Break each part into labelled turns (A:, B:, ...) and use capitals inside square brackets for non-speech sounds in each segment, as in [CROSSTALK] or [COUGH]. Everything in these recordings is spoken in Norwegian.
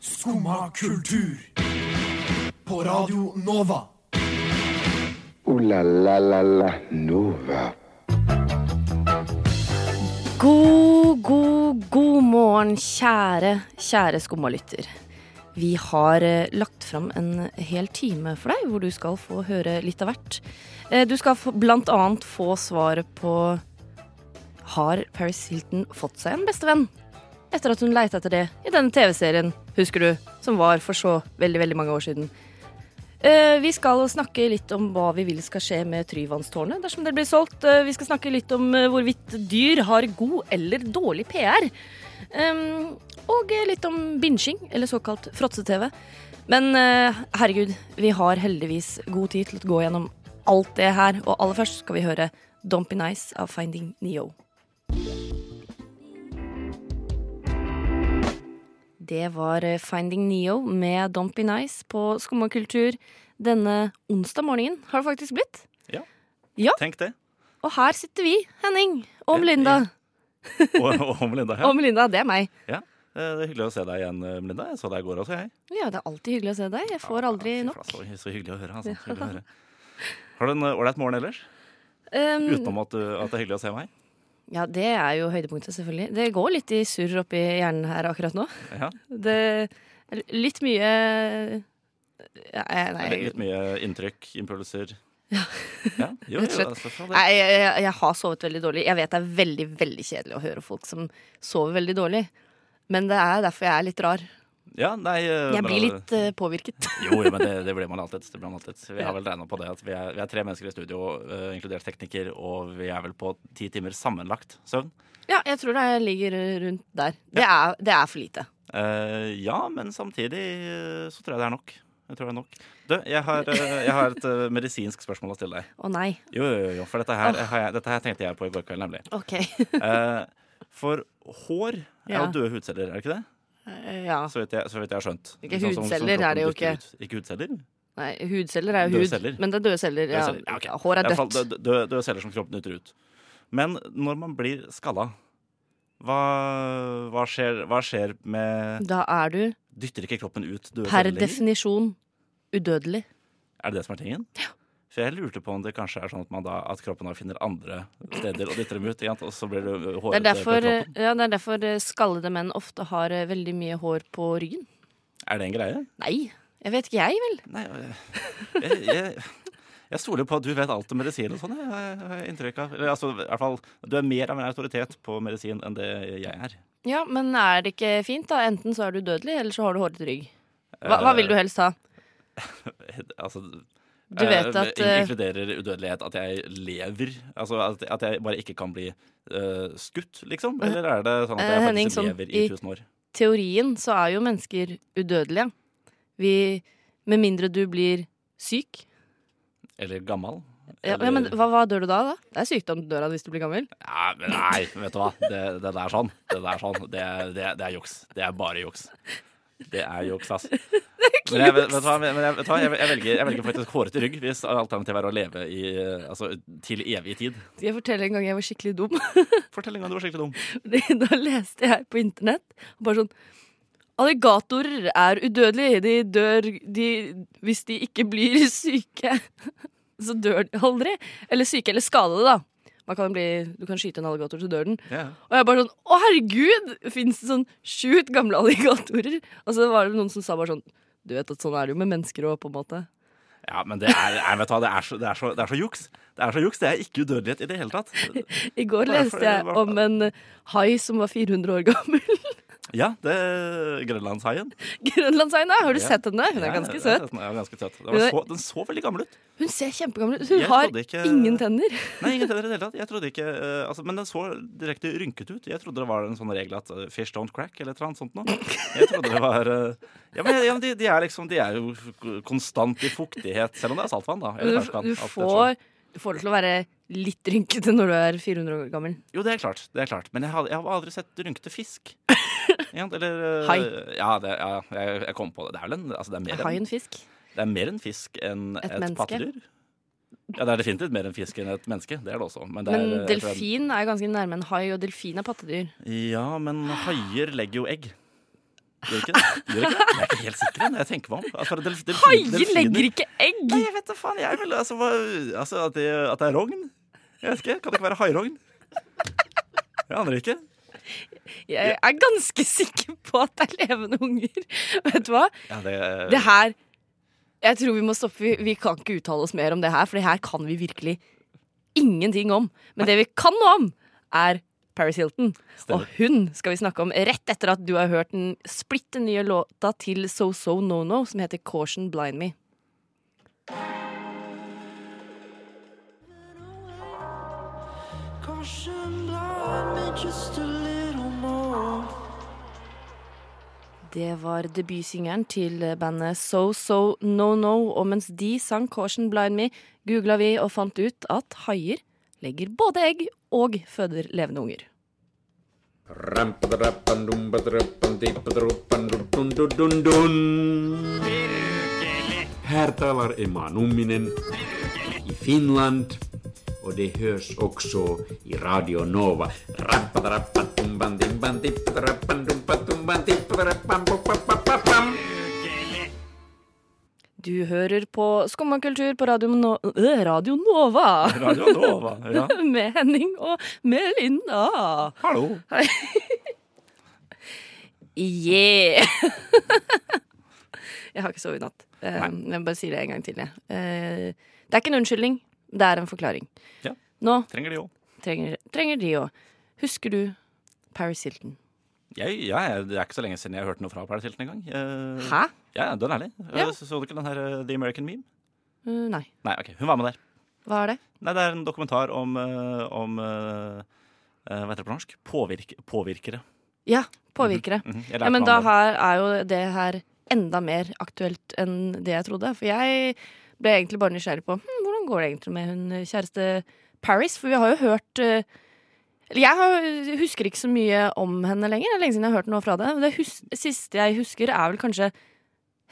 A: Skumma kultur. På Radio Nova.
B: Ooh la la la la Nova.
C: God, god, god morgen, kjære, kjære skummalytter. Vi har eh, lagt fram en hel time for deg, hvor du skal få høre litt av hvert. Eh, Du skal få, blant annet få svaret på Har Paris Hilton fått seg en bestevenn? Etter at hun leita etter det i denne TV-serien, husker du, som var for så veldig, veldig mange år siden. Eh, Vi skal snakke litt om hva vi vil skal skje med Tryvannstårnet dersom det blir solgt. Eh, Vi skal snakke litt om eh, hvorvidt dyr har god eller dårlig PR. Em, og eh, litt om binsjing, eller såkalt fråtse-TV. Men eh, herregud, vi har heldigvis god tid til å gå gjennom alt det her. Og aller først skal vi høre Don't Be Nice av Finding Neo. Det var eh, Finding Neo med Don't Be Nice på Skumma kultur denne onsdag morgenen. Har det faktisk blitt?
D: Tenk det.
C: Og her sitter vi, Henning og
D: Ja,
C: Melinda.
D: Og, og Melinda her.
C: Og Melinda, det er meg.
D: Ja. Eh, Det er hyggelig å se deg igjen, eh, Melinda. Jeg så deg i går også, jeg.
C: Ja, det er alltid hyggelig å se deg. Jeg får
D: Ja,
C: aldri
D: fy
C: nok.
D: flate, Så hyggelig å høre. Altså. Så Hyggelig å høre. Har du en eh, ålreit morgen ellers?
C: Um,
D: Utenom at, du- at det er hyggelig å se meg?
C: Ja, det er jo høydepunktet, selvfølgelig. Det går litt i surr oppi hjernen her akkurat nå.
D: Ja.
C: Det er litt mye ja, jeg- Nei,
D: Litt, litt mye inntrykk, impulser? Ja. jo, jo,
C: Rett og slett.
D: altså, faen, det-
C: nei jeg, jeg- jeg har sovet veldig dårlig. Jeg vet det er veldig veldig kjedelig å høre folk som sover veldig dårlig. Men det er derfor jeg er litt rar.
D: ja, nei, eh,
C: Jeg
D: bra.
C: blir litt eh, påvirket. [LAUGHS]
D: Jo, jo, men det, det blir man alltid. Det blir man alltid. Vi
C: Ja.
D: har vel regna på det at vi er, vi er tre mennesker i studio, eh, inkludert tekniker, og vi er vel på ti timer sammenlagt søvn.
C: Ja, jeg tror det ligger rundt der. Det er, det er for lite.
D: Eh, ja, men samtidig eh, så tror jeg det er nok. Jeg tror det er nok. Du, jeg har, eh, jeg har et eh, medisinsk spørsmål å stille deg.
C: Å nei.
D: Jo, jo, jo, jo, for dette her, har jeg, dette her tenkte jeg på i går kveld, nemlig.
C: OK.
D: Eh, for hår er jo
C: Ja.
D: døde hudceller, er det ikke det?
C: Eh, Ja.
D: Så vidt jeg, så vidt jeg har skjønt.
C: Ikke
D: Sånn som- som
C: hudceller
D: kroppen
C: er det jo
D: dytter ut. Ikke hudceller?
C: Nei, hudceller er jo
D: Døde
C: hud.
D: celler.
C: Men det er døde celler. Ja.
D: Døde celler, ja, ok.
C: Ja, Hår er
D: I hvert fall
C: dødt.
D: dø- dø- Døde celler som kroppen dytter ut. Men når man blir skalla, hva, hva, skjer, hva skjer med
C: Da er du
D: Dytter ikke kroppen ut døde
C: per
D: celler lenger?
C: definisjon udødelig.
D: Er det det som er tingen? For jeg lurte på om det kanskje er sånn at, man da, at kroppen da finner andre steder og dytter dem ut. Ikke sant? Og så blir det eh,
C: Det er
D: hårete på
C: derfor,
D: kroppen.
C: ja, det er derfor eh, skallede menn ofte har eh, veldig mye hår på ryggen.
D: Er det en greie?
C: Nei, jeg vet ikke jeg, vel.
D: Nei, jeg, jeg, jeg, jeg stoler på at du vet alt om medisin og sånn. jeg- jeg- jeg har inntrykk av. Eller, altså, i hvert fall, du er mer av en autoritet på medisin enn det jeg er.
C: Ja, men er det ikke fint, da? Enten så er du dødelig, eller så har du hårete rygg. Hva, hva vil du helst ha?
D: Altså,
C: Du vet
D: Eh, eh,
C: at,
D: in-
C: eh,
D: Inkluderer udødelighet at jeg lever? Altså at, at jeg bare ikke kan bli eh, skutt, liksom? Eller er det sånn at
C: Eh,
D: jeg
C: Henning,
D: faktisk
C: sånn
D: lever i
C: i-
D: tusen år?
C: Teorien så er jo mennesker udødelige. Vi Med mindre du blir syk.
D: Eller gammal?
C: Ja, ja, men hva, hva dør du da, da? Det er sykdom du dør av hvis du blir gammel.
D: Nei, men nei, vet du hva. Det, det der er sånn. Det der er sånn. Det, det, det er juks. Det er bare juks. Det er juks,
C: [LAUGHS]
D: ass. Men jeg, vet, vet du hva, men jeg, vet du hva? Jeg, jeg, velger, jeg velger faktisk hårete rygg hvis alternativet er å leve i, eh, altså, til evig tid.
C: Skal jeg fortelle en gang jeg var skikkelig dum? [LAUGHS]
D: Fortell en gang du var skikkelig dum.
C: Fordi Da leste jeg på internett og bare sånn Alligatorer er udødelige. De dør de, hvis de ikke blir [LAUGHS] syke. Så dør de aldri. Eller syke eller skadede, da. Man kan bli, du kan skyte en alligator, så dør den.
D: Ja.
C: Og jeg bare sånn Å, herregud! Fins det sånn sjukt gamle [LAUGHS] alligatorer? Og så var det noen som sa bare sånn Du vet at sånn er det jo med mennesker òg, på en måte.
D: Ja, men det er, nei, vet du hva, det er, så, det, er så, det er så juks. Det er så juks, det er ikke udødelighet i det hele tatt.
C: I går
D: Hva er det for-
C: leste jeg om en hai som var 400 år gammel.
D: Ja, det Grønlandshaien.
C: Grønlandshaien, da. Har du
D: Ja.
C: sett henne? Hun er ganske søt.
D: Den er ganske søt. Den,
C: Hun
D: var
C: er-
D: så, den så veldig gammel ut.
C: Hun ser kjempegammel ut. Hun
D: Jeg
C: har
D: trodde ikke-
C: ingen tenner.
D: Nei, ingen tenner i det hele tatt. Jeg trodde ikke, eh, altså, men den så direkte rynket ut. Jeg trodde det var en sånn regel at eh, fish don't crack eller et eller annet sånt noe. Jeg trodde det var eh, Ja, men ja, men de, de, er liksom, de er jo k- konstant i fuktighet, selv om det er saltvann, da.
C: Du,
D: Eller ferskvann,
C: du,
D: alt etter sånn.
C: får, du får det til å være litt rynkete når du er 400 år gammel.
D: Jo, det er klart. det er klart Men jeg har, jeg har aldri sett rynkete
C: [LAUGHS]
D: fisk. Ikke sant? Eller eh,
C: Hai.
D: Ja, det, ja jeg, jeg kom på det. Det er vel en, altså, det er
C: Er
D: mer
C: hai
D: enn
C: en fisk?
D: Det er mer en fisk enn
C: Et
D: et,
C: menneske?
D: pattedyr. Ja, det er definitivt mer en fisk enn et menneske. Det er det også. Men, det er, eh,
C: Men
D: jeg tror
C: [GASPS]
D: det
C: delfin er ganske nærme en hai, og delfin er pattedyr.
D: er- Ja, men haier legger jo egg. Gjør det ikke det? Gjør det ikke det? Jeg er ikke helt sikker når jeg tenker meg om. Altså, for delf- delfin-
C: Haier
D: delfiner-
C: legger ikke egg!
D: Nei, jeg vet da faen. Jeg vil altså, hva- altså at, det, at det er rogn. Jeg vet ikke. Kan det ikke være hairogn? Jeg aner ikke.
C: Jeg er ganske sikker på at det er levende unger. [LAUGHS] Vet du hva?
D: Ja, det,
C: Det her Jeg tror vi må stoppe. Vi, vi kan ikke uttale oss mer om det her, for det her kan vi virkelig ingenting om. Men det vi kan noe om, er Paris Hilton.
D: Stemmer.
C: Og hun skal vi snakke om rett etter at du har hørt den splitter nye låta til So So No No, som heter Caution Blind Me. Det var debutsingeren til bandet So So No No, og mens de sang Caution Blind Me, googla vi og fant ut at haier legger både egg og føder levende unger.
E: Här talar Emma Numminen i Finland och det hörs också i Radio Nova.
C: Du hører på Skumma kultur på Radio, no øh, Radio Nova [LAUGHS]
D: Radio Nova. Ja.
C: med Henning og Melinda.
D: Hallo.
C: Yeah! [LAUGHS] jeg har ikke sovet i natt. Eh, Jeg bare sier det en gang til. Jeg. Eh, Det er ikke en unnskyldning, det er en forklaring.
D: Ja.
C: Nå
D: Trenger de òg.
C: trenger, trenger de òg. Husker du Paris Hilton?
D: Jeg, ja, jeg, det er ikke så lenge siden jeg har hørt noe fra Paris Hilton engang. Eh,
C: Hæ?
D: Ja, dønn ærlig. Eh,
C: Ja.
D: Så, så du ikke den her eh, The American Meme?
C: Uh, nei.
D: Nei, ok, hun var med der.
C: Hva er det?
D: Nei, det er en dokumentar om, eh, om eh, eh, Hva heter det på norsk? Påvirk, påvirkere.
C: Ja, påvirkere.
D: Mhm, jeg lærte
C: Ja, men
D: meg
C: da
D: om det.
C: her er jo det her enda mer aktuelt enn det jeg trodde. For jeg ble egentlig bare nysgjerrig på hm, hvordan går det egentlig med hun kjæreste Paris? For vi har jo hørt eh, Eller jeg har, husker ikke så mye om henne lenger. Det er lenge siden jeg har hørt noe fra det. Det hus siste jeg husker, er vel kanskje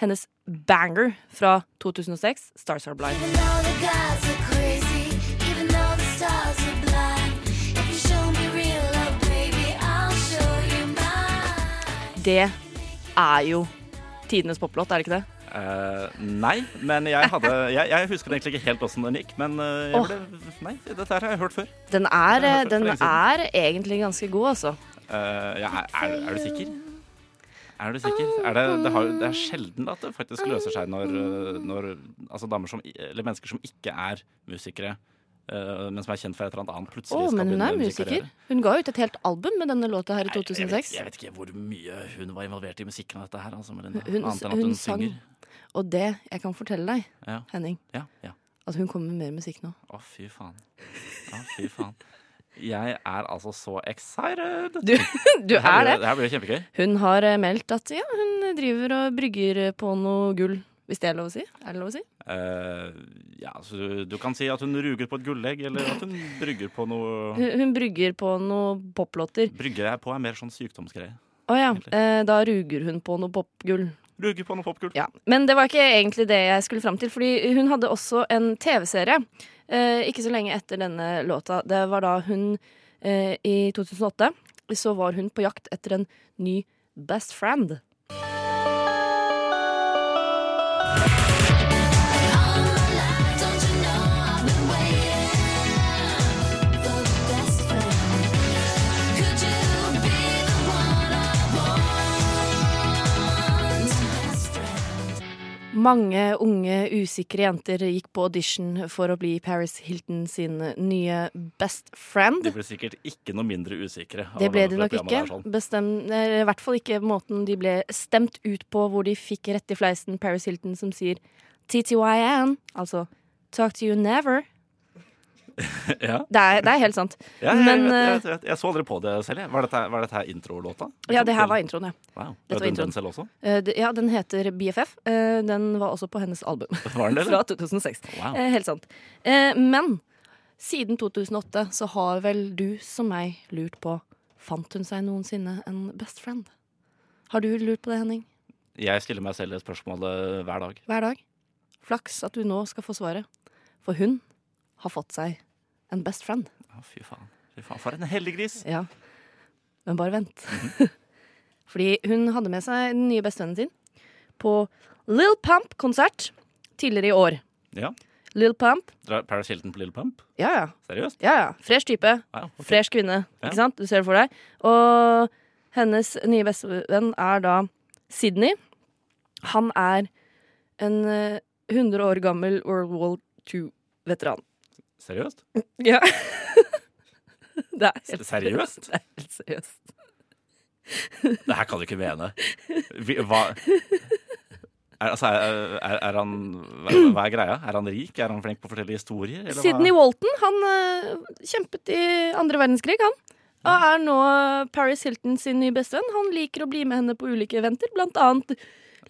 C: hennes banger fra 2006, 'Stars Are Blind'.
F: Even though the gods are crazy, even though the stars are blind, if you show me real love, baby, I'll show you mine.
C: Det er jo tidenes poplåt, er det ikke det?
D: Eh, nei, men jeg hadde jeg, jeg husker egentlig ikke helt åssen den gikk, men eh, jeg
C: Åh.
D: ble, Nei, dette her har jeg hørt før.
C: Den er, eh,
D: Det har jeg hørt for
C: den
D: lenge siden.
C: er egentlig ganske god, altså.
D: Eh, ja, er, er, er du sikker? Er du sikker? Er det, det, har, det er sjelden at det faktisk løser seg når, eh, når altså damer som, eller mennesker som ikke er musikere, eh, men som er kjent for et eller annet annet,
C: Å,
D: plutselig skal
C: men hun
D: begynne
C: er
D: en musikkarriere.
C: musiker. Hun ga ut et helt album med denne låta her i
D: Nei, Jeg vet,
C: 2006.
D: jeg vet ikke hvor mye hun var involvert i musikken av dette her. Altså, Melinda.
C: Hun-
D: Annet enn at
C: hun
D: hun,
C: sang.
D: synger.
C: Og det jeg kan fortelle deg,
D: Ja,
C: Henning,
D: ja, ja.
C: at hun kommer med mer musikk nå.
D: Å, fy faen. Å, fy faen. Jeg er altså så excited!
C: Du, du
D: her
C: er det.
D: blir, Mm, det her blir kjempegøy.
C: Hun har eh, meldt at ja, hun driver og brygger på noe gull. Hvis det er lov å si? Er det lov å si?
D: Eh, ja, så du, du kan si at hun ruger på et gullegg, eller at hun brygger på noe
C: Hun, hun brygger på noe poplåter.
D: Brygge jeg på er mer sånn sykdomsgreie.
C: Å ja,
D: Egentlig.
C: eh, da ruger hun på noe popgull.
D: Ruger på noe popgull.
C: Ja, Men det var ikke egentlig det jeg skulle fram til, fordi hun hadde også en TV-serie. Eh, ikke så lenge etter denne låta. Det var da hun eh, I 2008 så var hun på jakt etter en ny best friend.
F: All my life, don't you know I've been waiting for the best friend? Could you be the one I want, best friend?
C: Mange unge, usikre jenter gikk på audition for å bli Paris Hilton sin nye best friend.
D: De blir sikkert ikke noe mindre usikre. av
C: Det ble
D: hvordan
C: de nok
D: programmet
C: ikke.
D: er sånn.
C: Bestem, eller I hvert fall ikke måten de ble stemt ut på, hvor de fikk rett i fleisen Paris Hilton som sier TTYN, altså Talk to you never.
D: Ja.
C: Det er, det er helt sant.
D: Ja, jeg,
C: Men, eh,
D: jeg, jeg, jeg, jeg så aldri på det selv. jeg. Var dette, var dette her introlåta?
C: Ja, det her var introen, ja.
D: Wow.
C: Dette
D: Dette
C: var
D: var
C: introen.
D: Den [LAUGHS] selv også?
C: Eh, det- Ja, den heter BFF. Eh, Den var også på hennes album
D: Var den det?
C: fra
D: eller?
C: 2006.
D: Wow.
C: Eh, Helt sant. Eh, Men siden 2008 så har vel du som meg lurt på Fant hun seg noensinne en best friend? Har du lurt på det, Henning?
D: Jeg stiller meg selv det spørsmålet hver dag.
C: hver dag. Flaks at du nå skal få svaret, for hun har fått seg en best friend.
D: Å, fy faen. Fy faen, For en heldiggris!
C: Mhm. Ja. Men bare vent. [LAUGHS] Fordi hun hadde med seg den nye bestevennen sin på Lill Pump-konsert tidligere i år.
D: Ja.
C: Lill Pump.
D: Dra- Paris Hilton på Little Pump?
C: Ja, ja.
D: Seriøst?
C: ja, ja. Fresh type.
D: Ja, ok.
C: Fresh kvinne.
D: Ja.
C: Ikke sant? Du ser det for deg. Og hennes nye bestevenn er da Sydney. Han er en eh, 100 år gammel World War II-veteran.
D: Seriøst?
C: Ja. [LAUGHS] det er helt
D: Seriøst?
C: Det er helt seriøst.
D: Det her kan du ikke mene. Vi- [LAUGHS] Hva er, altså, er, er, er han hva, hva er greia? Er han rik? Er han flink på å fortelle historier? eller hva?
C: Sydney Walton han eh, kjempet i andre verdenskrig, han. Og er nå Paris Hilton sin nye bestevenn. Han liker å bli med henne på ulike eventer, blant annet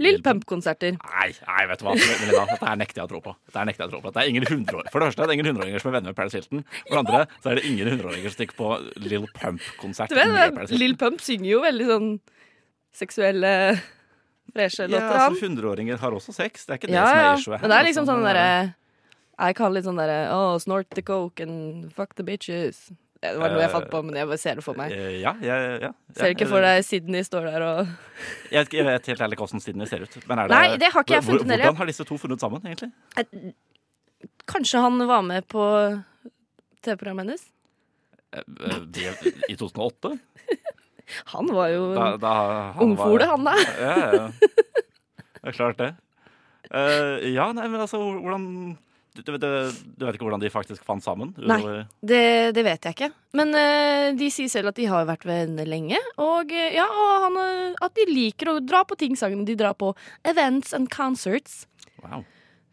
C: Lill Pump-konserter.
D: Nei, nei, vet du hva. Melina, dette her nekter jeg å tro på. Dette her nekter jeg å tro på. Det er ingen 100 år. For det første er det ingen 100-åringer som er venner med Paris Hilton. For det andre så er det ingen 100-åringer som stikker på Lill Pump-konsert.
C: Du vet,
D: med
C: det,
D: Paris Hilton.
C: Lil Pump synger jo veldig sånn seksuelle freshe
D: Ja,
C: låter, han.
D: altså 100-åringer har også sex. Det er ikke det
C: Ja,
D: som
C: ja.
D: er issuet her.
C: Men det er liksom
D: altså.
C: sånn derre Jeg kan litt sånn derre oh, snort the coke and fuck the bitches. Det var noe jeg fant på, men jeg bare ser det for meg.
D: Eh, Ja, ja, ja. eh,
C: Ser ikke for deg Sydney står der og
D: Jeg vet, ikke- jeg vet helt ærlig hvordan Sydney ser ut. Men er det,
C: Nei, det har ikke jeg
D: Hvor-
C: funnet heller.
D: Hvordan har disse to funnet sammen, egentlig?
C: Kanskje han var med på TV-programmet hennes?
D: Eh, eh, de- I
C: [LAUGHS]
D: 2008?
C: Han var jo
D: Da, da han
C: ungfole,
D: var-
C: han da.
D: Ja, ja,
C: [LAUGHS]
D: ja. Det er klart det. Eh, ja, nei, men altså hvordan du, du, du vet ikke hvordan de faktisk fant sammen?
C: Nei.
D: Utover-
C: Det, det vet jeg ikke. Men eh, de sier selv at de har vært venner lenge. Og, eh, ja, og han, eh, at de liker å dra på ting sammen. De drar på events and concerts,
D: Wow.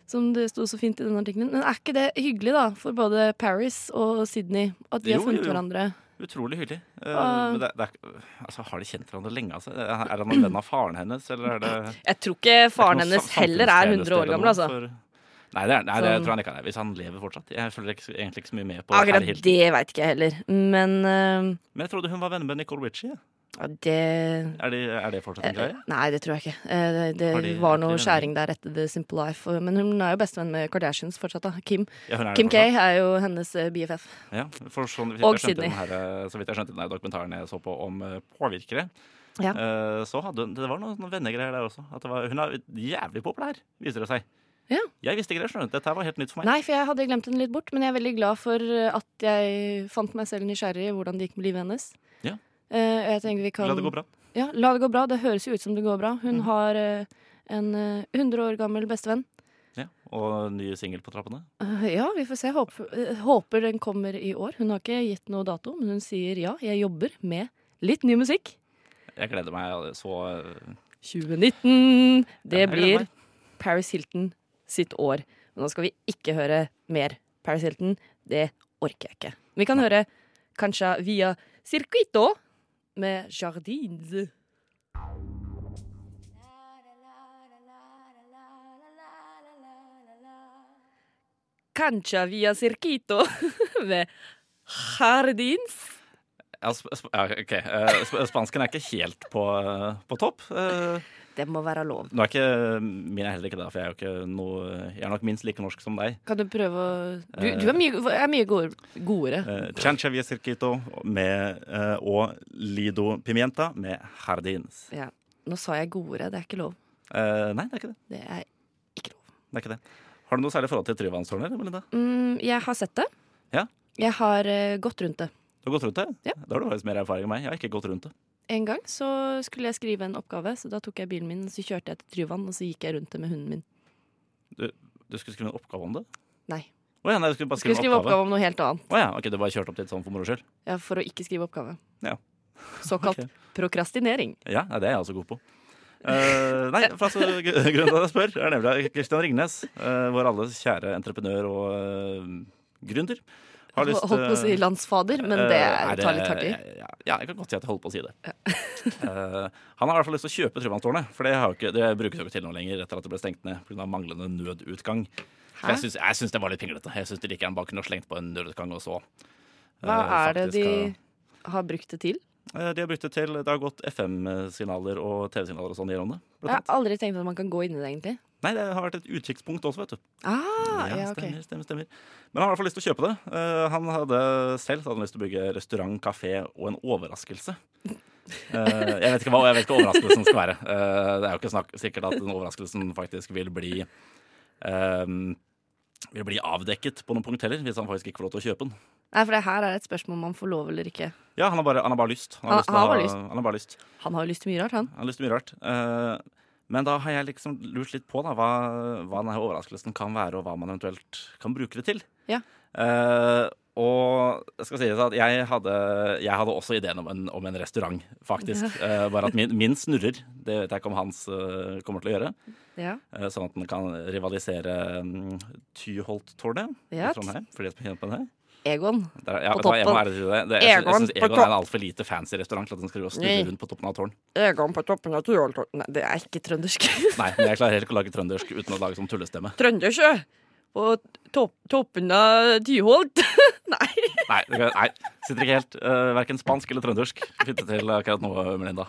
C: som det sto så fint i den artikkelen. Men er ikke det hyggelig, da? For både Paris og Sydney. At de
D: Jo,
C: har funnet
D: jo, jo.
C: hverandre.
D: Utrolig hyggelig. Eh,
C: Ah.
D: men det, det er, altså, har de kjent hverandre lenge? Altså? Er han en venn av faren hennes, eller er det
C: Jeg tror ikke faren
D: Det er ikke noe
C: hennes
D: sam-
C: heller er
D: samfunnstjeneste
C: 100 år
D: eller
C: gammel,
D: noe,
C: altså.
D: for- Nei, det, er, nei, det
C: Sånn.
D: tror jeg han ikke han er. Hvis han lever fortsatt. Jeg følger ikke, egentlig ikke så mye med på
C: Akkurat
D: Harry Hilton.
C: det veit ikke jeg heller. Men eh,
D: Men jeg trodde hun var venner med Nicole Ritchie.
C: ja,
D: ja.
C: det
D: Er det, er det fortsatt
C: Eh,
D: en greie?
C: Nei, det tror jeg ikke. Eh, Det,
D: Har
C: det
D: de-
C: var
D: er
C: noe
D: ikke de
C: skjæring der etter The Simple Life. og- Men hun er jo bestevenn med Kardashians fortsatt, da. Kim.
D: Ja, hun er det
C: Kim K
D: fortsatt.
C: er jo hennes eh, BFF.
D: Ja, for sånn,
C: Og
D: og
C: Sydney.
D: Sydney. Den her, eh, så vidt jeg skjønte den her dokumentaren jeg så på om eh, påvirkere,
C: Ja.
D: eh, så hadde hun Det var noen, noen vennegreier der også. At det var, hun er jævlig populær, viser det seg.
C: Ja.
D: Jeg visste ikke det, skjønner du. Dette her var helt nytt for meg.
C: Nei, for jeg hadde glemt henne litt bort, men jeg er veldig glad for eh, at jeg fant meg selv nysgjerrig i hvordan det gikk med livet hennes.
D: Ja.
C: Eh, og jeg tenker vi kan
D: La det gå bra. Mm.
C: Ja, la det gå bra. Det høres jo ut som det går bra. Hun har eh, en eh, 100 år gammel bestevenn.
D: Ja. Og ny singel på trappene.
C: Eh, ja, vi får se. Håper, eh, håper den kommer i år. Hun har ikke gitt noe dato, men hun sier ja, jeg jobber med litt ny musikk.
D: Jeg gleder meg så eh,
C: 2019. Det
D: jeg gleder
C: blir
D: meg.
C: Paris Hilton sitt år. Men nå skal vi ikke høre mer Paris Hilton. Det orker jeg ikke. Vi kan høre kanskje via Circuito med Jardins. Kanskje via Circuito [LAUGHS] med Jardins.
D: ja, sp sp ja, OK. Eh, sp spansken er ikke helt på, eh, på topp. Eh,
C: Det må være lov.
D: nå er ikke min er heller ikke det, for jeg er jo ikke noe Jeg er nok minst like norsk som deg.
C: Kan du prøve å Du, du er mye, er mye godere. godere.
D: Eh, Chanchavia Circuito med, eh, og Lido Pimienta med Jardins.
C: Ja. Nå sa jeg godere, det er ikke lov.
D: Eh, nei, det er ikke det.
C: Det er ikke lov.
D: det, er ikke det. Har du noe særlig forhold til Tryvannstårnet? eller, Melinda?
C: Mm, jeg har sett det.
D: Ja.
C: Jeg har eh, gått rundt det.
D: Du har gått rundt det?
C: Ja.
D: Da har du faktisk mer erfaring enn meg. Jeg har ikke gått rundt det.
C: En gang så skulle jeg skrive en oppgave, så da tok jeg bilen min, så kjørte jeg til Tryvann, og så gikk jeg rundt det med hunden min.
D: Du skulle skrive en oppgave om det?
C: Nei.
D: Å ja, nei, du skulle bare
C: Jeg skulle
D: skrive
C: skrive
D: en oppgave.
C: oppgave om noe helt annet.
D: Å ja, ok, du bare kjørte opp dit sånn for moro skyld?
C: Ja, for å ikke skrive oppgave.
D: Ja.
C: Såkalt
D: Ok.
C: prokrastinering.
D: Ja, nei, det er jeg altså god på. Eh, nei, for altså, gr- grunnen til at jeg spør, er nemlig at Kristian Ringnes, eh, vår alles kjære entreprenør og eh, gründer, har lyst
C: Holdt på å si landsfader, men det
D: Eh,
C: er å ta litt hardt i.
D: Ja, ja, jeg kan godt si at jeg holder på å si det. [LAUGHS] Eh, han har i hvert fall lyst til å kjøpe Tryvannstårnet, for det, har jo ikke, det brukes jo ikke til noe lenger etter at det ble stengt ned pga. manglende nødutgang. For
C: Hæ?
D: Jeg syns, jeg syns det var litt pinglete. Jeg syns de like gjerne bare kunne slengt på en nødutgang og så. eh,
C: Hva er det
D: faktisk
C: de
D: ha-
C: har brukt det til?
D: Eh, De har brukt det til Det har gått FM-signaler og TV-signaler og sånn gjennom det.
C: Jeg
D: blant
C: har
D: annet.
C: aldri tenkt at man kan gå inn i det, egentlig.
D: Nei, det har vært et utkikkspunkt også, vet du.
C: Ah, ja, ok.
D: stemmer, stemmer, stemmer. Men han har i hvert fall lyst til å kjøpe det. Eh, han hadde selv så hadde han lyst til å bygge restaurant, kafé og en overraskelse. Eh, jeg vet ikke hva, og jeg vet ikke hva overraskelsen skal være. Eh, det er jo ikke snakk, sikkert at den overraskelsen faktisk vil bli eh, vil bli avdekket på noen punkt heller, hvis han faktisk ikke får lov til å kjøpe den.
C: Nei, for det her er et spørsmål om man får lov eller ikke.
D: Ja, han har bare, han har bare lyst.
C: Han-
D: til å
C: Ah, han har
D: ha-
C: bare lyst.
D: han har bare lyst.
C: Han har jo lyst til mye rart, han.
D: Jeg har lyst til mye rart. Eh, men da har jeg liksom lurt litt på da, hva, hva denne overraskelsen kan være, og hva man eventuelt kan bruke det til.
C: Ja.
D: Eh, og jeg skal si det sånn at jeg hadde, jeg hadde også ideen om en, om en restaurant, faktisk. Eh, bare at min, min snurrer. Det vet jeg ikke om hans eh, kommer til å gjøre.
C: Ja.
D: eh, sånn at den kan rivalisere mm, Tyholttårnet
C: Ja.
D: i Trondheim. For de som kjenner på det.
C: Egon.
D: Der, ja,
C: På
D: vet du hva, jeg må
C: toppen.
D: ærlig si det. det jeg, syns- jeg
C: Egon
D: syns
C: på
D: Egon er en altfor lite fancy restaurant til at den skal drive og snurre
C: Nei.
D: rundt på toppen av et tårn.
C: Egon på toppen av Tyholtorten. Nei, det er ikke trøndersk.
D: Nei, men jeg klarer helt ikke å lage trøndersk uten å lage sånn tullestemme.
C: Trøndersjø. På topp- toppen av Tyholt. [LAUGHS] Nei.
D: Nei, det kan, nei sitter ikke helt uh, verken spansk eller trøndersk. Fitte til akkurat nå, Melinda.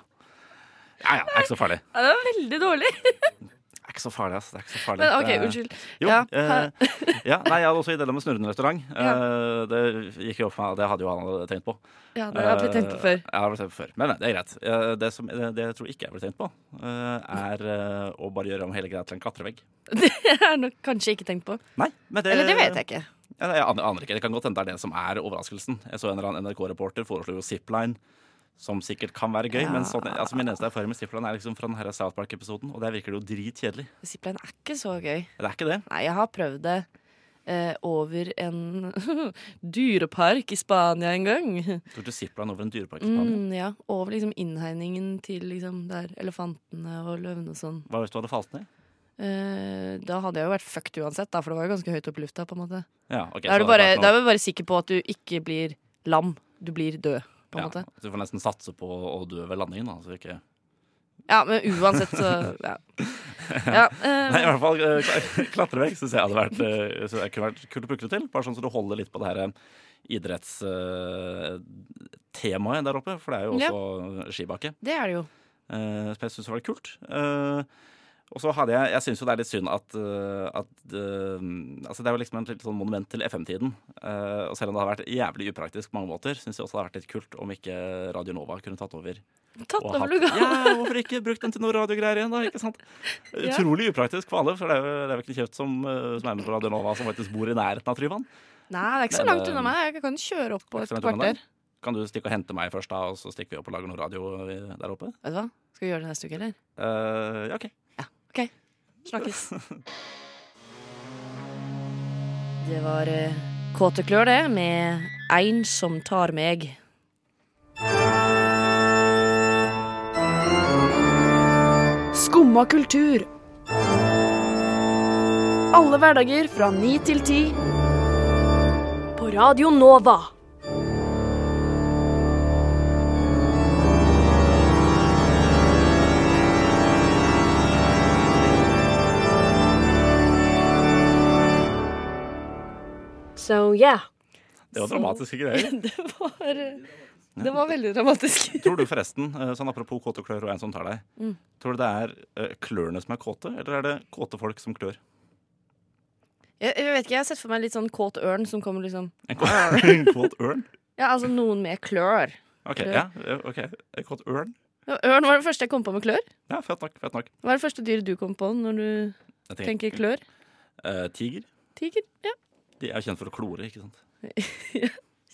D: Ja ja, det er ikke så farlig.
C: Ja, Det var veldig dårlig.
D: Det er ikke så farlig, ass. Det er ikke så farlig.
C: [LAUGHS] Men OK,
D: Det er-
C: unnskyld.
D: Jo,
C: Ja,
D: eh, [LAUGHS] ja, nei, jeg hadde også ideen om en snurrende restaurant.
C: Ja.
D: Eh, det gikk jo opp for meg, det hadde jo han tenkt på.
C: [LAUGHS] Ja, det har jeg blitt tenkt på før.
D: Eh, Jeg har blitt tenkt på før. Men, men det er greit. Eh, Det, som, det det jeg tror ikke jeg ble tenkt på, eh, er eh, å bare gjøre om hele greia til en klatrevegg.
C: Det har jeg nok kanskje ikke tenkt på. Eh,
D: Nei, men det,
C: Eller det vet jeg ikke.
D: Ja, nei, jeg aner, aner ikke. Det kan godt hende det er det som er overraskelsen. Jeg så en eller annen NRK-reporter foreslo jo zipline, som sikkert kan være gøy. Men sånn, altså min eneste erfaring med zipline er liksom fra den her South Park-episoden, og der virker det jo dritkjedelig.
C: Zipline er ikke så gøy.
D: Det er ikke det.
C: Nei, jeg har prøvd det eh, over en [LAUGHS] dyrepark i Spania en [LAUGHS] gang.
D: Tror du zipline over en dyrepark i Spania?
C: Mm, ja, Over liksom innhegningen til liksom der elefantene og løvene og sånn.
D: Hva hvis du hadde falt ned?
C: Eh, da hadde jeg jo vært fucked uansett, da, for det var jo ganske høyt opp i lufta. på en måte
D: Ja, ok.
C: Da er
D: så
C: du bare,
D: det hadde vært noe-
C: da er du bare sikker på at du ikke blir lam. Du blir død, på en
D: Ja,
C: måte.
D: så du får nesten satse på å dø ved landingen, da. Så du ikke
C: Ja, men uansett, så
D: [LAUGHS]
C: Ja. ja eh,
D: Nei, i hvert fall eh, kla- [LAUGHS] klatrevegg syns jeg hadde vært, eh, synes jeg kunne vært kult å bruke det til. Bare sånn så du holder litt på det her idrettstemaet der oppe, for det er jo
C: Ja.
D: også skibakke.
C: det er det jo.
D: Eh, som jeg syns var litt kult. Eh, og så hadde jeg Jeg syns jo det er litt synd at, eh, at eh, Altså, det er jo liksom et litt sånn monument til FM-tiden. Eh, og selv om det hadde vært jævlig upraktisk på mange måter, syns jeg også det hadde vært litt kult om ikke Radio Nova kunne tatt over.
C: Tatt
D: og
C: over
D: hatt-
C: lugaren.
D: Ja, hvorfor ikke brukt den til noen radiogreier igjen, da? Ikke sant? Utrolig upraktisk for alle, for det er jo, det er jo ikke kjeft som, eh, som er med på Radio Nova, som faktisk bor i nærheten av Tryvann.
C: Nei, det er ikke så
D: Men,
C: langt unna
D: eh,
C: meg. Jeg kan kjøre opp på et
D: Ikke sant, Tryvann der?
C: kvarter.
D: Kan du stikke og hente meg først, da, og så stikker vi opp og lager noe radio eh, der oppe?
C: Vet du hva? Skal vi gjøre det neste uke, eller?
D: Eh, ja, OK.
C: OK. Snakkes. det var eh, Kåte klør, det, med Ein som tar meg.
G: Skumma kultur. Alle hverdager fra ni til ti. På Radio Nova. So yeah.
D: Det var dramatiske greier.
C: det var eh, Det var veldig dramatisk. [LAUGHS]
D: Tror du forresten, eh, sånn apropos kåte klør og en som tar deg,
C: Mm.
D: tror du det er eh, klørne som er kåte, eller er det kåte folk som klør?
C: Jeg, jeg vet ikke, jeg har sett for meg litt sånn kåt ørn som kommer liksom
D: En kåt, [LAUGHS] en kåt ørn?
C: Ja, altså noen med klør.
D: Ok,
C: Klør.
D: ja, eh, ok. En kåt ørn?
C: Ja, Ørn var det første jeg kom på med klør.
D: Ja, fett nok. fett nok.
C: Hva er det første dyret du kom på når du
D: Jeg
C: tenker klør?
D: eh, tiger.
C: Tiger? Ja.
D: De er kjent for å klore, ikke sant?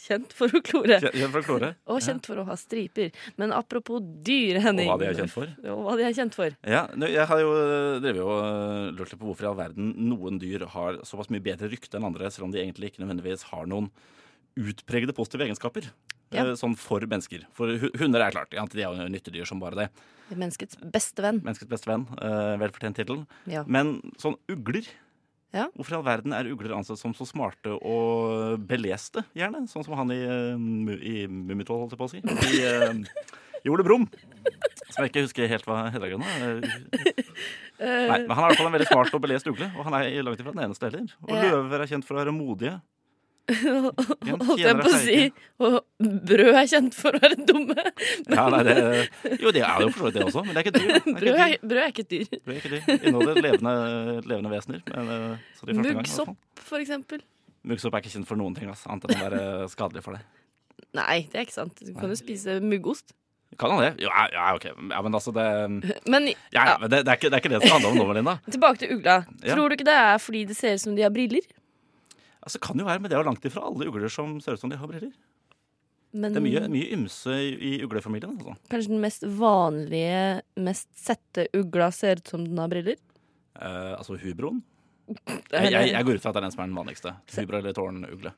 C: Kjent for å klore.
D: Kjent kjent for å klore,
C: Og kjent for å ha striper. Men apropos dyr, Henning.
D: og hva de er kjent for.
C: Og hva de er kjent for.
D: Ja, nå, jeg har jo drevet og eh, lurt litt på hvorfor i all verden noen dyr har såpass mye bedre rykte enn andre, selv om de egentlig ikke nødvendigvis har noen utpregede positive egenskaper.
C: Ja.
D: Eh, Sånn for mennesker. For hu- hunder er klart, ja, de er jo nyttedyr som bare det.
C: Det er Menneskets beste venn.
D: Menneskets beste venn. eh, Velfortjent tittel.
C: Ja.
D: Men sånn ugler
C: Ja.
D: Hvorfor i all verden er ugler ansett som så smarte og beleste, gjerne? Sånn som han i, eh, Mu- i Mummitroll, holdt jeg på å si. I eh, i Ole Brumm. Som jeg ikke husker helt hva heter nå. Nei,
C: Eh.
D: men han er i hvert fall en veldig smart og belest ugle, og han er i langt ifra den eneste heller. Og
C: Ja.
D: løver er kjent for å være modige.
C: [LAUGHS]
D: Igjen,
C: Holdt jeg
D: tjenere
C: på å
D: er
C: si.
D: feige.
C: Og brød er kjent for å være dumme.
D: Ja, nei, det, jo, det er jo for så vidt det også, men det er ikke dyr. Det
C: [LAUGHS]
D: er ikke
C: Brød
D: dyr.
C: er, brød er ikke et dyr.
D: Det er ikke de. Inneholder levende, levende vesener. Men, eh, så de første gang, i hvert fall.
C: Muggsopp, for eksempel.
D: Muggsopp er ikke kjent for altså, noen ting, ass, annet enn å være skadelig for deg.
C: Nei, det er ikke sant. Du kan jo spise muggost.
D: Kan han det? Jo, ja, ja, ok. Ja, men altså, det Ja,
C: Men
D: ja,
C: ja,
D: men det, det, er ikke, det er ikke det som handler om nå, Melinda.
C: tilbake til ugla.
D: Ja.
C: Tror du ikke det er fordi det ser ut som de har briller?
D: Altså, kan jo være, men det er jo langt ifra alle ugler som ser ut som de har briller.
C: Men
D: Det er mye, mye ymse i, i uglefamilien. Altså.
C: kanskje den mest vanlige, mest sette ugla ser ut som den har briller?
D: Eh, altså hubroen.
C: Det er-
D: Jeg, jeg, jeg går ut fra at det er den som er den vanligste. Hubro eller tårnugle.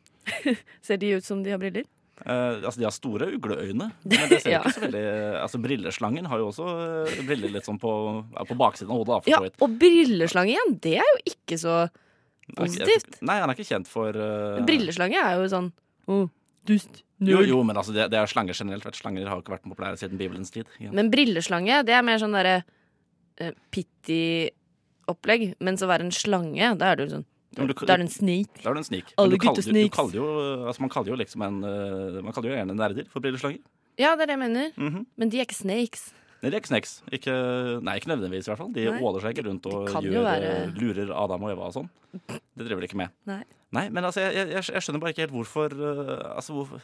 C: Ser de ut som de har briller?
D: Eh, altså, de har store
C: [LAUGHS]
D: ugleøyne, men det ser
C: Ja.
D: ikke så veldig Altså, brilleslangen har jo også eh, briller litt sånn på, ja, på baksiden av hodet, da, for
C: Ja,
D: så vidt.
C: og brilleslange igjen, det er jo ikke så
D: Han er ikke-
C: positivt.
D: Nei, han er ikke kjent for eh,
C: Brilleslange er jo sånn Å, dust.
D: Jo, jo, men altså, det, det er slanger generelt. Vet. du. Slanger har jo ikke vært populære siden Bibelens tid. Ja.
C: Men brilleslange, det er mer sånn derre eh, pitty opplegg. Mens å være en slange, da er du sånn
D: Ja, men du-
C: Da er du en snake.
D: Da er du en snik.
C: Alle
D: Men du kaller-
C: gutter
D: du- du
C: sneaks.
D: kaller jo- Altså, man kaller jo liksom en eh, Man kaller jo gjerne nerder for brilleslanger.
C: Ja, det er det jeg mener.
D: Mhm.
C: Men de er ikke snakes.
D: Nei, det er ikke snacks. Ikke, nei, ikke nødvendigvis, i hvert fall. De
C: Nei.
D: åler seg ikke rundt og
C: kan jo
D: gjør,
C: være-
D: eh, lurer Adam og Eva og sånn. Det driver de ikke med.
C: Nei.
D: Nei, men altså, jeg, jeg, jeg skjønner bare ikke helt hvorfor eh, Altså, hvorfor,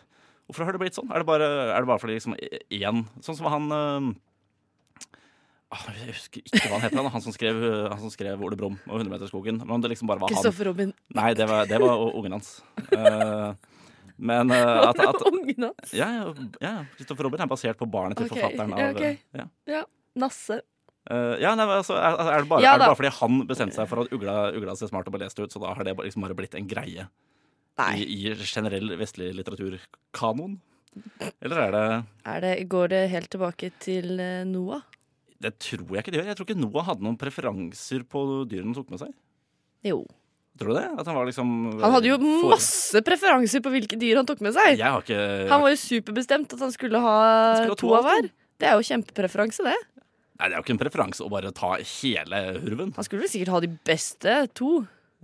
D: hvorfor har det blitt sånn? Er det bare, er det bare fordi liksom eh, én Sånn som han eh, ah, Jeg husker ikke hva han heter, han, han som skrev, eh, han som skrev Ole Brumm og 100-meterskogen. Men om det liksom bare var han
C: Kristoffer Robin.
D: Nei, det var, det var o- ungen hans. Eh, men eh, at,
C: [LAUGHS]
D: at
C: Ungen hans.
D: Ja, ja, ja. Kristoffer Robin er basert på barnet til
C: Ok,
D: forfatteren av
C: ja, ok.
D: ja.
C: Nasse.
D: Eh, ja, nei, men altså, er, er, det bare,
C: Ja
D: er
C: da.
D: det bare fordi han bestemte seg for at ugla, ugla ser smart og belest ut, så da har det bare- liksom bare blitt en greie i,
C: Nei.
D: i generell vestlig litteraturkanon? Eller er det
C: Er det, går det helt tilbake til eh, Noah?
D: Det tror jeg ikke det gjør. Jeg tror ikke Noah hadde noen preferanser på dyrene han tok med seg.
C: Jo.
D: Tror du det? At han var liksom
C: Han hadde jo
D: for-
C: masse preferanser på hvilke dyr han tok med seg.
D: Jeg har ikke
C: Han var jo superbestemt at han skulle ha,
D: skulle ha to
C: to av
D: av
C: hver. Det er jo kjempepreferanse, det.
D: Nei, det er jo ikke en preferanse å bare ta hele hurven.
C: Han skulle vel sikkert ha de beste to.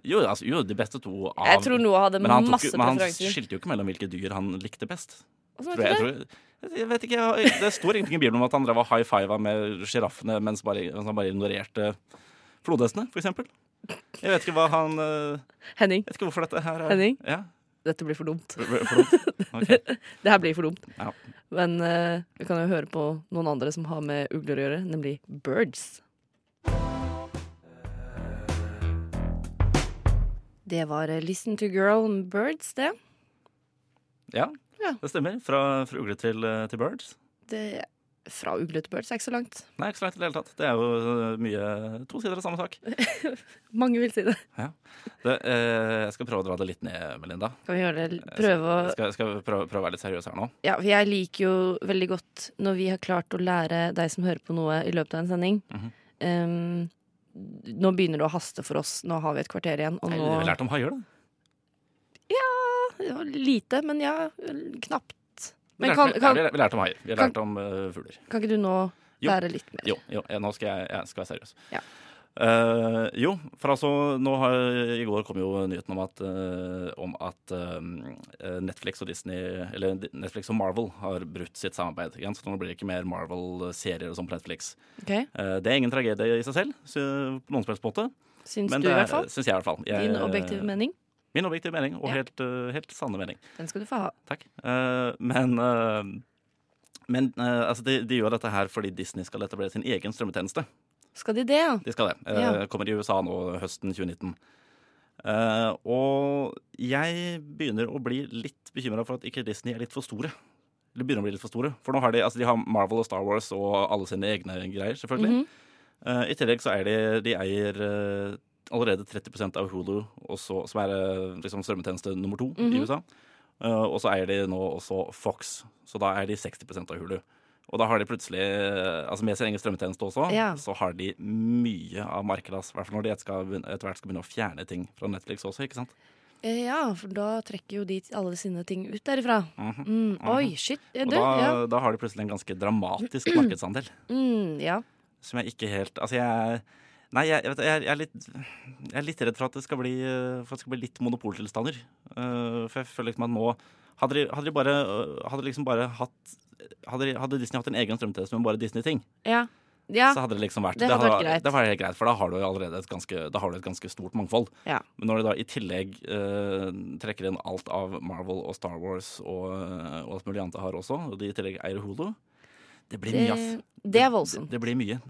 D: Jo, altså, jo de beste to av
C: Jeg tror Noah hadde
D: men han, tok,
C: masse
D: jo- men han
C: preferanser.
D: skilte jo ikke mellom hvilke dyr han likte best.
C: Og så
D: Tror
C: vet du
D: jeg,
C: det.
D: jeg, tror, jeg vet ikke, jeg, har- Det står ingenting i Bibelen om at han drev og high fiva med sjiraffene mens, bare- mens han bare ignorerte flodhestene, for eksempel. Jeg vet ikke hva han eh,
C: Henning,
D: Jeg vet ikke hvorfor dette her er
C: Henning?
D: Ja,
C: dette blir for dumt.
D: for- for dumt. Ok.
C: Det her blir for dumt.
D: Ja.
C: Men eh, vi kan jo høre på noen andre som har med ugler å gjøre, nemlig birds. Det var eh, Listen to Girl med Birds, det.
D: ja,
C: Ja.
D: det stemmer. Fra, fra ugle til, eh, til birds.
C: det fra ugle til birds er ikke så langt.
D: Nei, ikke så langt i det hele tatt. Det er jo eh, mye to sider av samme sak.
C: Mange vil si det.
D: Det, eh, jeg skal prøve å dra det litt ned, Melinda.
C: Kan vi gjøre det? Prøve å
D: Jeg Eh, skal, jeg skal prøve, prøve å være litt seriøs her nå.
C: Ja, for jeg liker jo veldig godt når vi har klart å lære deg som hører på noe i løpet av en sending.
D: Mhm.
C: Ehm, nå begynner det å haste for oss. Nå har vi et kvarter igjen. Og
D: Nei,
C: nå [LAUGHS]
D: Vi lærte om haier, da.
C: det var lite, men ja, knapt.
D: Vi
C: Men
D: lærte-
C: kan,
D: nei,
C: kan,
D: vi, lær- vi lærte om haier. Vi
C: kan-
D: lærte om eh, fugler.
C: kan ikke du nå
D: Jo.
C: lære litt mer?
D: Jo, jo jeg, nå skal jeg, jeg skal være seriøs.
C: Ja.
D: Eh, jo, for altså nå har, I går kom jo nyheten om at, eh, om at eh, Netflix og Disney Eller Netflix og Marvel har brutt sitt samarbeid. Ikke? sant? Så nå blir det ikke mer Marvel-serier og sånn på Netflix.
C: Ok,
D: Eh, det er ingen tragedie i seg selv, så, på noen som helst måte.
C: Syns
D: Men
C: du, i
D: det
C: hvert fall.
D: syns jeg i hvert fall. Jeg- eh,
C: Din objektive mening.
D: Min objektive mening, og
C: Ja.
D: helt, eh, helt sanne mening.
C: Den skal du få ha.
D: Takk. Eh, men eh, men eh, altså de, de gjør dette her fordi Disney skal etablere sin egen strømmetjeneste.
C: Skal de det, ja?
D: De skal det. Eh,
C: Ja.
D: Kommer i USA nå høsten 2019. Eh, og jeg begynner å bli litt bekymra for at ikke Disney er litt for store. Eller begynner å bli litt for store. For nå har de, altså, de har Marvel og Star Wars og alle sine egne greier, selvfølgelig.
C: Mhm.
D: Eh, I tillegg så eier de, de eier eh, allerede 30 av Hulu, også, som er eh, liksom strømmetjeneste nummer to i
C: Mhm.
D: USA. Eh, og så eier de nå også Fox, så da eier de 60 av Hulu. Og da har de plutselig, eh, altså med sin egen strømmetjeneste også,
C: Ja.
D: så har de mye av markedet. altså. I hvert fall når de et skal begyn- etter hvert skal begynne å fjerne ting fra Netflix også, ikke sant.
C: Eh, Ja, for da trekker jo de alle sine ting ut derifra. Mm, oi, shit. Ja,
D: Mhm. Og
C: du,
D: da,
C: ja.
D: da har de plutselig en ganske dramatisk markedsandel.
C: Mm, ja.
D: som jeg ikke helt Altså, jeg Nei, jeg, jeg, vet, jeg, er- jeg, er litt, jeg er litt redd for at det skal bli, eh, for at det skal bli litt monopoltilstander. Eh, for jeg føler liksom at nå Hadde de, hadde de bare eh, Hadde liksom bare hatt hadde, de- hadde Disney hatt en egen strømmetjeneste med bare Disney-ting,
C: Ja. ja.
D: så hadde det liksom vært
C: det hadde vært greit.
D: Det var helt greit, for da har du jo allerede et ganske, da har du et ganske stort mangfold.
C: Ja.
D: Men når de da i tillegg eh, trekker inn alt eh, av Marvel og Star Wars og, og alt mulig annet de har også, og de i tillegg eier Holo Det blir
C: Det,
D: mye, ass.
C: det er voldsomt.
D: Det, det blir mye.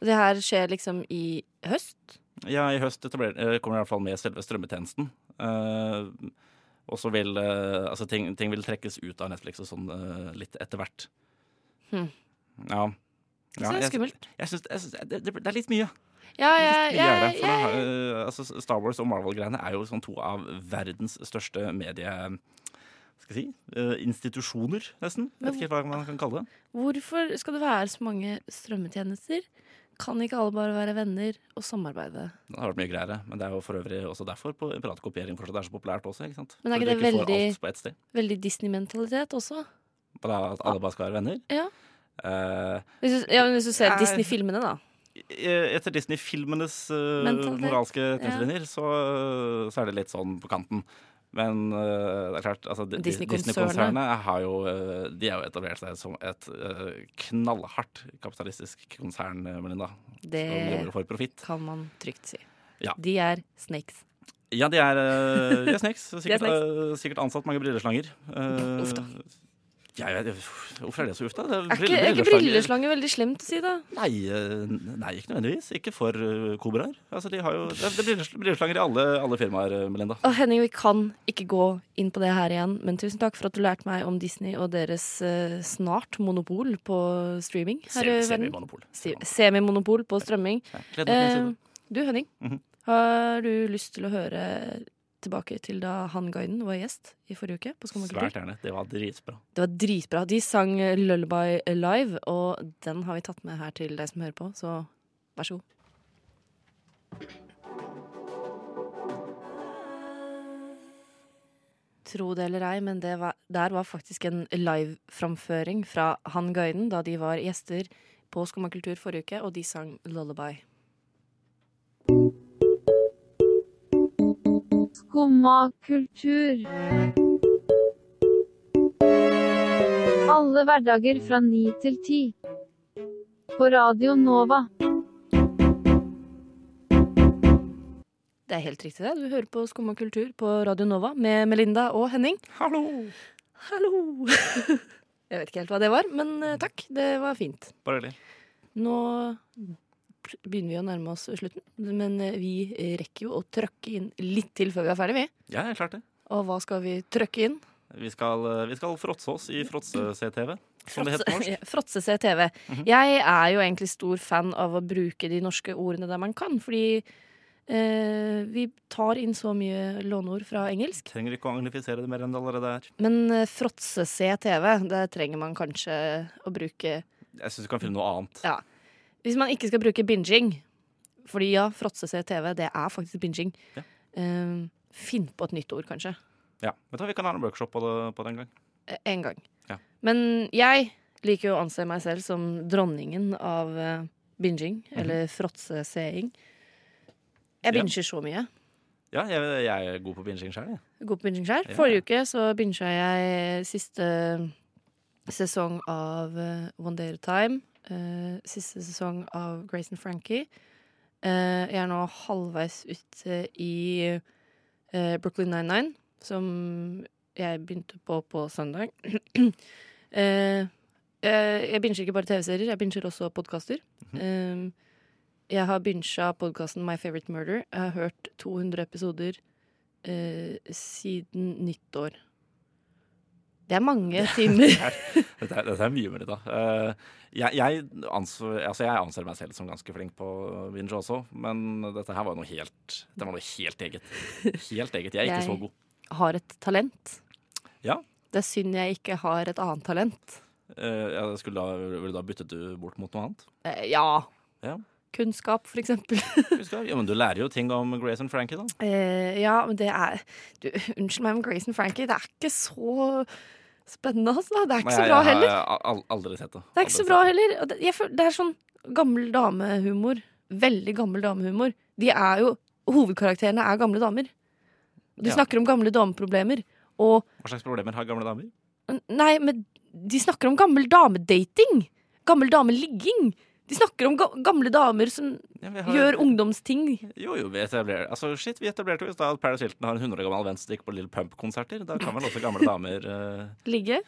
C: Det her skjer liksom i høst.
D: Ja, i høst etabler- eh, kommer det i hvert fall med selve strømmetjenesten. Eh, og så vil eh, altså ting, ting vil trekkes ut av Netflix og sånn eh, litt etter hvert.
C: Hm.
D: Ja.
C: Så det er
D: jeg-
C: skummelt.
D: Jeg synes, jeg synes, det, det, det er litt mye.
C: Ja, ja,
D: Mye
C: ja,
D: er det, for
C: ja,
D: det har, eh, altså, Star Wars og Marvel-greiene er jo sånn to av verdens største medie... Skal jeg si, eh, institusjoner, nesten. Jeg vet ikke hva man kan kalle det.
C: Hvorfor skal det være så mange strømmetjenester? Kan ikke alle bare være venner og samarbeide?
D: Det har vært mye greiere, men det er jo for øvrig også derfor på- piratkopiering fortsatt er så populært også. ikke sant?
C: Men er
D: Fordi
C: ikke
D: du
C: det
D: får
C: veldig-
D: alt på ett sted.
C: Veldig Disney-mentalitet også.
D: Bare at alle bare skal være venner.
C: Ja.
D: Eh,
C: Hvis du, ja, men hvis du ser
D: Ja.
C: Disney-filmene, da.
D: eh, etter Disney-filmenes eh,
C: Mentalitet.
D: moralske retningslinjer, så, så er det litt sånn på kanten. Men eh, det er klart, altså, Di- Di-
C: Disney-konsernet.
D: Disney-konsernet har jo eh, De har jo etablert seg som et eh, knallhardt kapitalistisk konsern, eh, Melinda.
C: Det
D: Som jobber for profitt.
C: kan man trygt si.
D: Ja.
C: De er snakes.
D: Ja, de er, eh, de er
C: [LAUGHS]
D: snakes.
C: De er
D: Sikkert, eh, sikkert ansatt mange brilleslanger. Eh,
C: Uff da.
D: Ja, jeg vet- hvorfor er det så uff, da? Det
C: Er ikke, er ikke brilleslanger veldig slemt å si, da?
D: Nei, eh, nei, ikke nødvendigvis. Ikke for eh, kobraer. Altså, de har jo, det er brillesl- brilleslanger i alle, alle firmaer, eh, Melinda.
C: Å, Henning, vi kan ikke gå inn på det her igjen, men tusen takk for at du lærte meg om Disney og deres eh, snart monopol på streaming her i
D: Semi-
C: verden.
D: Semimonopol.
C: Si- Semimonopol på strømming.
D: Ja, gleder meg til å se
C: Eh,
D: det.
C: du, Henning,
D: Mhm.
C: har du lyst til å høre tilbake til da Han Guiden var gjest i forrige uke? på Skumma kultur?
D: Svært gjerne. Det var dritbra.
C: Det var dritbra. De sang eh, Lullaby live, og den har vi tatt med her til deg som hører på, så vær så god. Tro det eller ei, men det var, der var faktisk en liveframføring fra Han Guiden da de var gjester på Skumma kultur forrige uke, og de sang Lullaby.
H: Skumma kultur. Alle hverdager fra ni til ti. På Radio Nova.
C: Det er helt riktig, det. Du hører på Skumma kultur på Radio Nova med Melinda og Henning.
D: Hallo!
C: Hallo! [LAUGHS] Jeg vet ikke helt hva det var, men eh, takk. Det var fint.
D: Bare hyggelig.
C: Nå begynner vi å nærme oss slutten, men eh, vi rekker jo å trøkke inn litt til før vi er ferdig, vi.
D: Ja, jeg klarte det.
C: Og hva skal vi trøkke inn?
D: Vi skal, eh, vi skal fråtse oss i fråtse-CTV, som det heter på norsk. Mhm.
C: Fråtse [LAUGHS] TV. Jeg er jo egentlig stor fan av å bruke de norske ordene der man kan, fordi eh, vi tar inn så mye låneord fra engelsk.
D: Trenger ikke å anglifisere det mer enn det allerede er.
C: Men eh, fråtse TV, der trenger man kanskje å bruke
D: Jeg syns du kan finne noe annet.
C: Ja. Hvis man ikke skal bruke binging Fordi ja, fråtse TV, det er faktisk binging.
D: Ja.
C: Eh, finn på et nytt ord, kanskje.
D: Ja, Vet du, hva, Vi kan ha en workshop på det, på det en gang.
C: Eh, En gang.
D: Ja.
C: Men jeg liker jo å anse meg selv som dronningen av eh, binging, eller fråtseseing. Jeg
D: Mhm. Ja.
C: binger så mye.
D: Ja, jeg, jeg er god på binging sjøl, jeg.
C: God på binging sjøl.
D: Ja.
C: Forrige uke så binga jeg siste sesong av eh, One Day at a Time. eh, siste sesong av Grace and Frankie. Eh, jeg er nå halvveis ute i eh, Brooklyn Nine-Nine, som jeg begynte på på søndag. [CLEARS THROAT] Eh, eh, jeg binger ikke bare TV-serier, jeg binger også podkaster. Eh, jeg har binga podkasten My Favorite Murder. Jeg har hørt 200 episoder eh, siden nyttår. Det er mange
D: [LAUGHS]
C: timer.
D: Dette, er- dette er mye mer i dag. Eh, jeg, jeg, anser, altså jeg anser meg selv som ganske flink på binge også, men dette her var noe helt, det var noe helt eget. Helt eget. Jeg er ikke
C: Jeg-
D: så god.
C: Har et talent.
D: Ja.
C: Det er synd jeg ikke har et annet talent.
D: Eh, jeg skulle da, ville da byttet du bort mot noe annet?
C: Eh, ja.
D: Ja.
C: Kunnskap, for eksempel. [LAUGHS]
D: Husker jeg. Ja, men du lærer jo ting om Grace and Frankie, da.
C: Eh, ja, men det er du, Unnskyld meg, men Grace and Frankie, det er ikke så spennende, altså. Det er ikke
D: Nei,
C: så bra
D: jeg,
C: heller.
D: Jeg har al- aldri sett det.
C: Det er ikke
D: Aldri
C: så bra
D: sett det.
C: heller. Og det- Jeg føler, det er sånn gammel damehumor. Veldig gammel damehumor. De er jo Hovedkarakterene er gamle damer. Og De
D: Ja.
C: snakker om gamle dameproblemer. Og
D: Hva slags problemer har gamle damer?
C: Nei, men de snakker om gammel damedating. Gammel dameligging. De snakker om ga gamle damer som
D: Ja, vi har-
C: gjør ungdomsting.
D: Jo, jo, vi etablerer Altså, shit, vi etablerte jo i stad at Paris Hilton har en 100 år gammel venstrekk på Lille Pump-konserter. Da kan vel også gamle damer eh,
C: Ligge.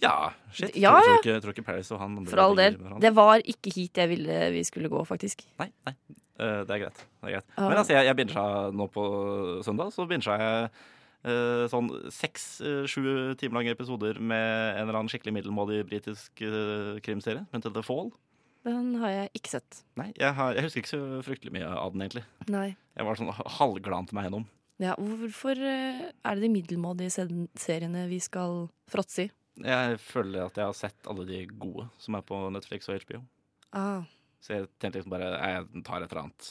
D: Ja, shit.
C: Ja,
D: tror,
C: ja.
D: tror, ikke, tror ikke Paris og han andre
C: For all
D: ligger
C: del.
D: med hverandre.
C: Det var ikke hit jeg ville vi skulle gå, faktisk.
D: Nei, nei. eh, det er greit. Det er greit.
C: Ja.
D: Men altså, jeg, jeg bincha nå på søndag, så bincha jeg eh, sånn seks-sju timer lange episoder med en eller annen skikkelig middelmådig britisk eh, krimserie, som heter The Fall.
C: Den har jeg ikke sett.
D: Nei, jeg, har, jeg husker ikke så fryktelig mye av den, egentlig.
C: Nei.
D: Jeg var sånn halvglant meg gjennom.
C: Ja, hvorfor eh, er det de middelmådige sed- seriene vi skal fråtse i?
D: Jeg føler at jeg har sett alle de gode som er på Netflix og HBO.
C: Ah.
D: Så jeg tenkte liksom bare jeg tar et eller annet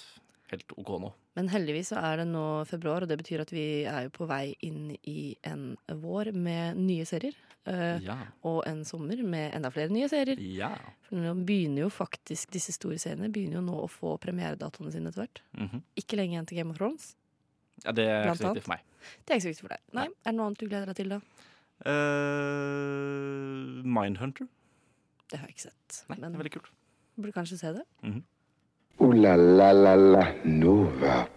D: helt OK nå.
C: Men heldigvis så er det nå februar, og det betyr at vi er jo på vei inn i en vår med nye serier. eh,
D: Ja.
C: Og en sommer med enda flere nye serier.
D: ja.
C: For nå begynner jo faktisk disse store seriene begynner jo nå å få premieredatoene sine etter hvert.
D: Mhm.
C: Ikke lenge igjen til Game of Thrones.
D: ja det er
C: Blant
D: ikke så
C: annet.
D: viktig for meg.
C: Det er ikke så viktig for deg. Nei, Er det noe annet du gleder deg til, da?
D: Eh, Mindhunter.
C: Det har jeg ikke sett.
D: Nei,
C: Men
D: det er veldig kult.
C: burde kanskje se det.
B: Ooh la la la la Nova.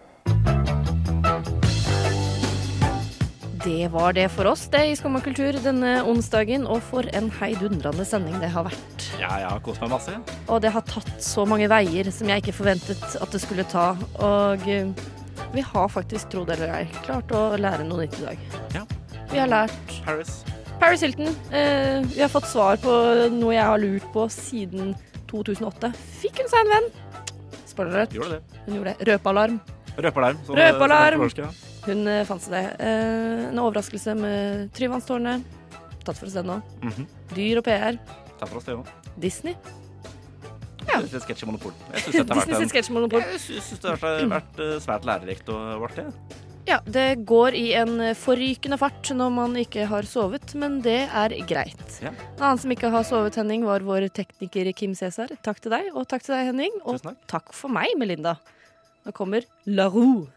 C: Det var det for oss, det, i Skumma kultur denne onsdagen. Og for en heidundrende sending det har vært.
D: Ja, jeg har kost meg masse. jeg.
C: Og det har tatt så mange veier som jeg ikke forventet at det skulle ta. Og eh, vi har faktisk, tro det eller ei, klart å lære noe nytt i dag.
D: Ja.
C: Vi har lært
D: Paris.
C: Paris Hilton. Eh, vi har fått svar på noe jeg har lurt på siden 2008. Fikk hun seg en venn? Spoiler alert.
D: Gjorde det.
C: Hun gjorde det. Røpealarm.
D: Røpealarm. som-
C: Røpealarm!
D: som er på norsk, ja.
C: Hun eh, fant seg det. Eh, en overraskelse med Tryvannstårnet. Tatt for oss den nå.
D: Mhm.
C: Dyr og PR.
D: Takk for oss, det òg.
C: Disney. Ja.
D: Litt sketsj i Monopol. Jeg syns dette har
C: Disney
D: vært
C: sitt
D: en
C: sketsjmonopol.
D: jeg synes det har vært eh, svært lærerikt og artig.
C: Ja, det går i en forrykende fart når man ikke har sovet, men det er greit.
D: Ja.
C: En annen som ikke har sovet, Henning, var vår tekniker Kim Cæsar. Takk til deg, og takk til deg, Henning. Og
D: Tusen takk.
C: takk for meg, Melinda. Nå kommer La Roux.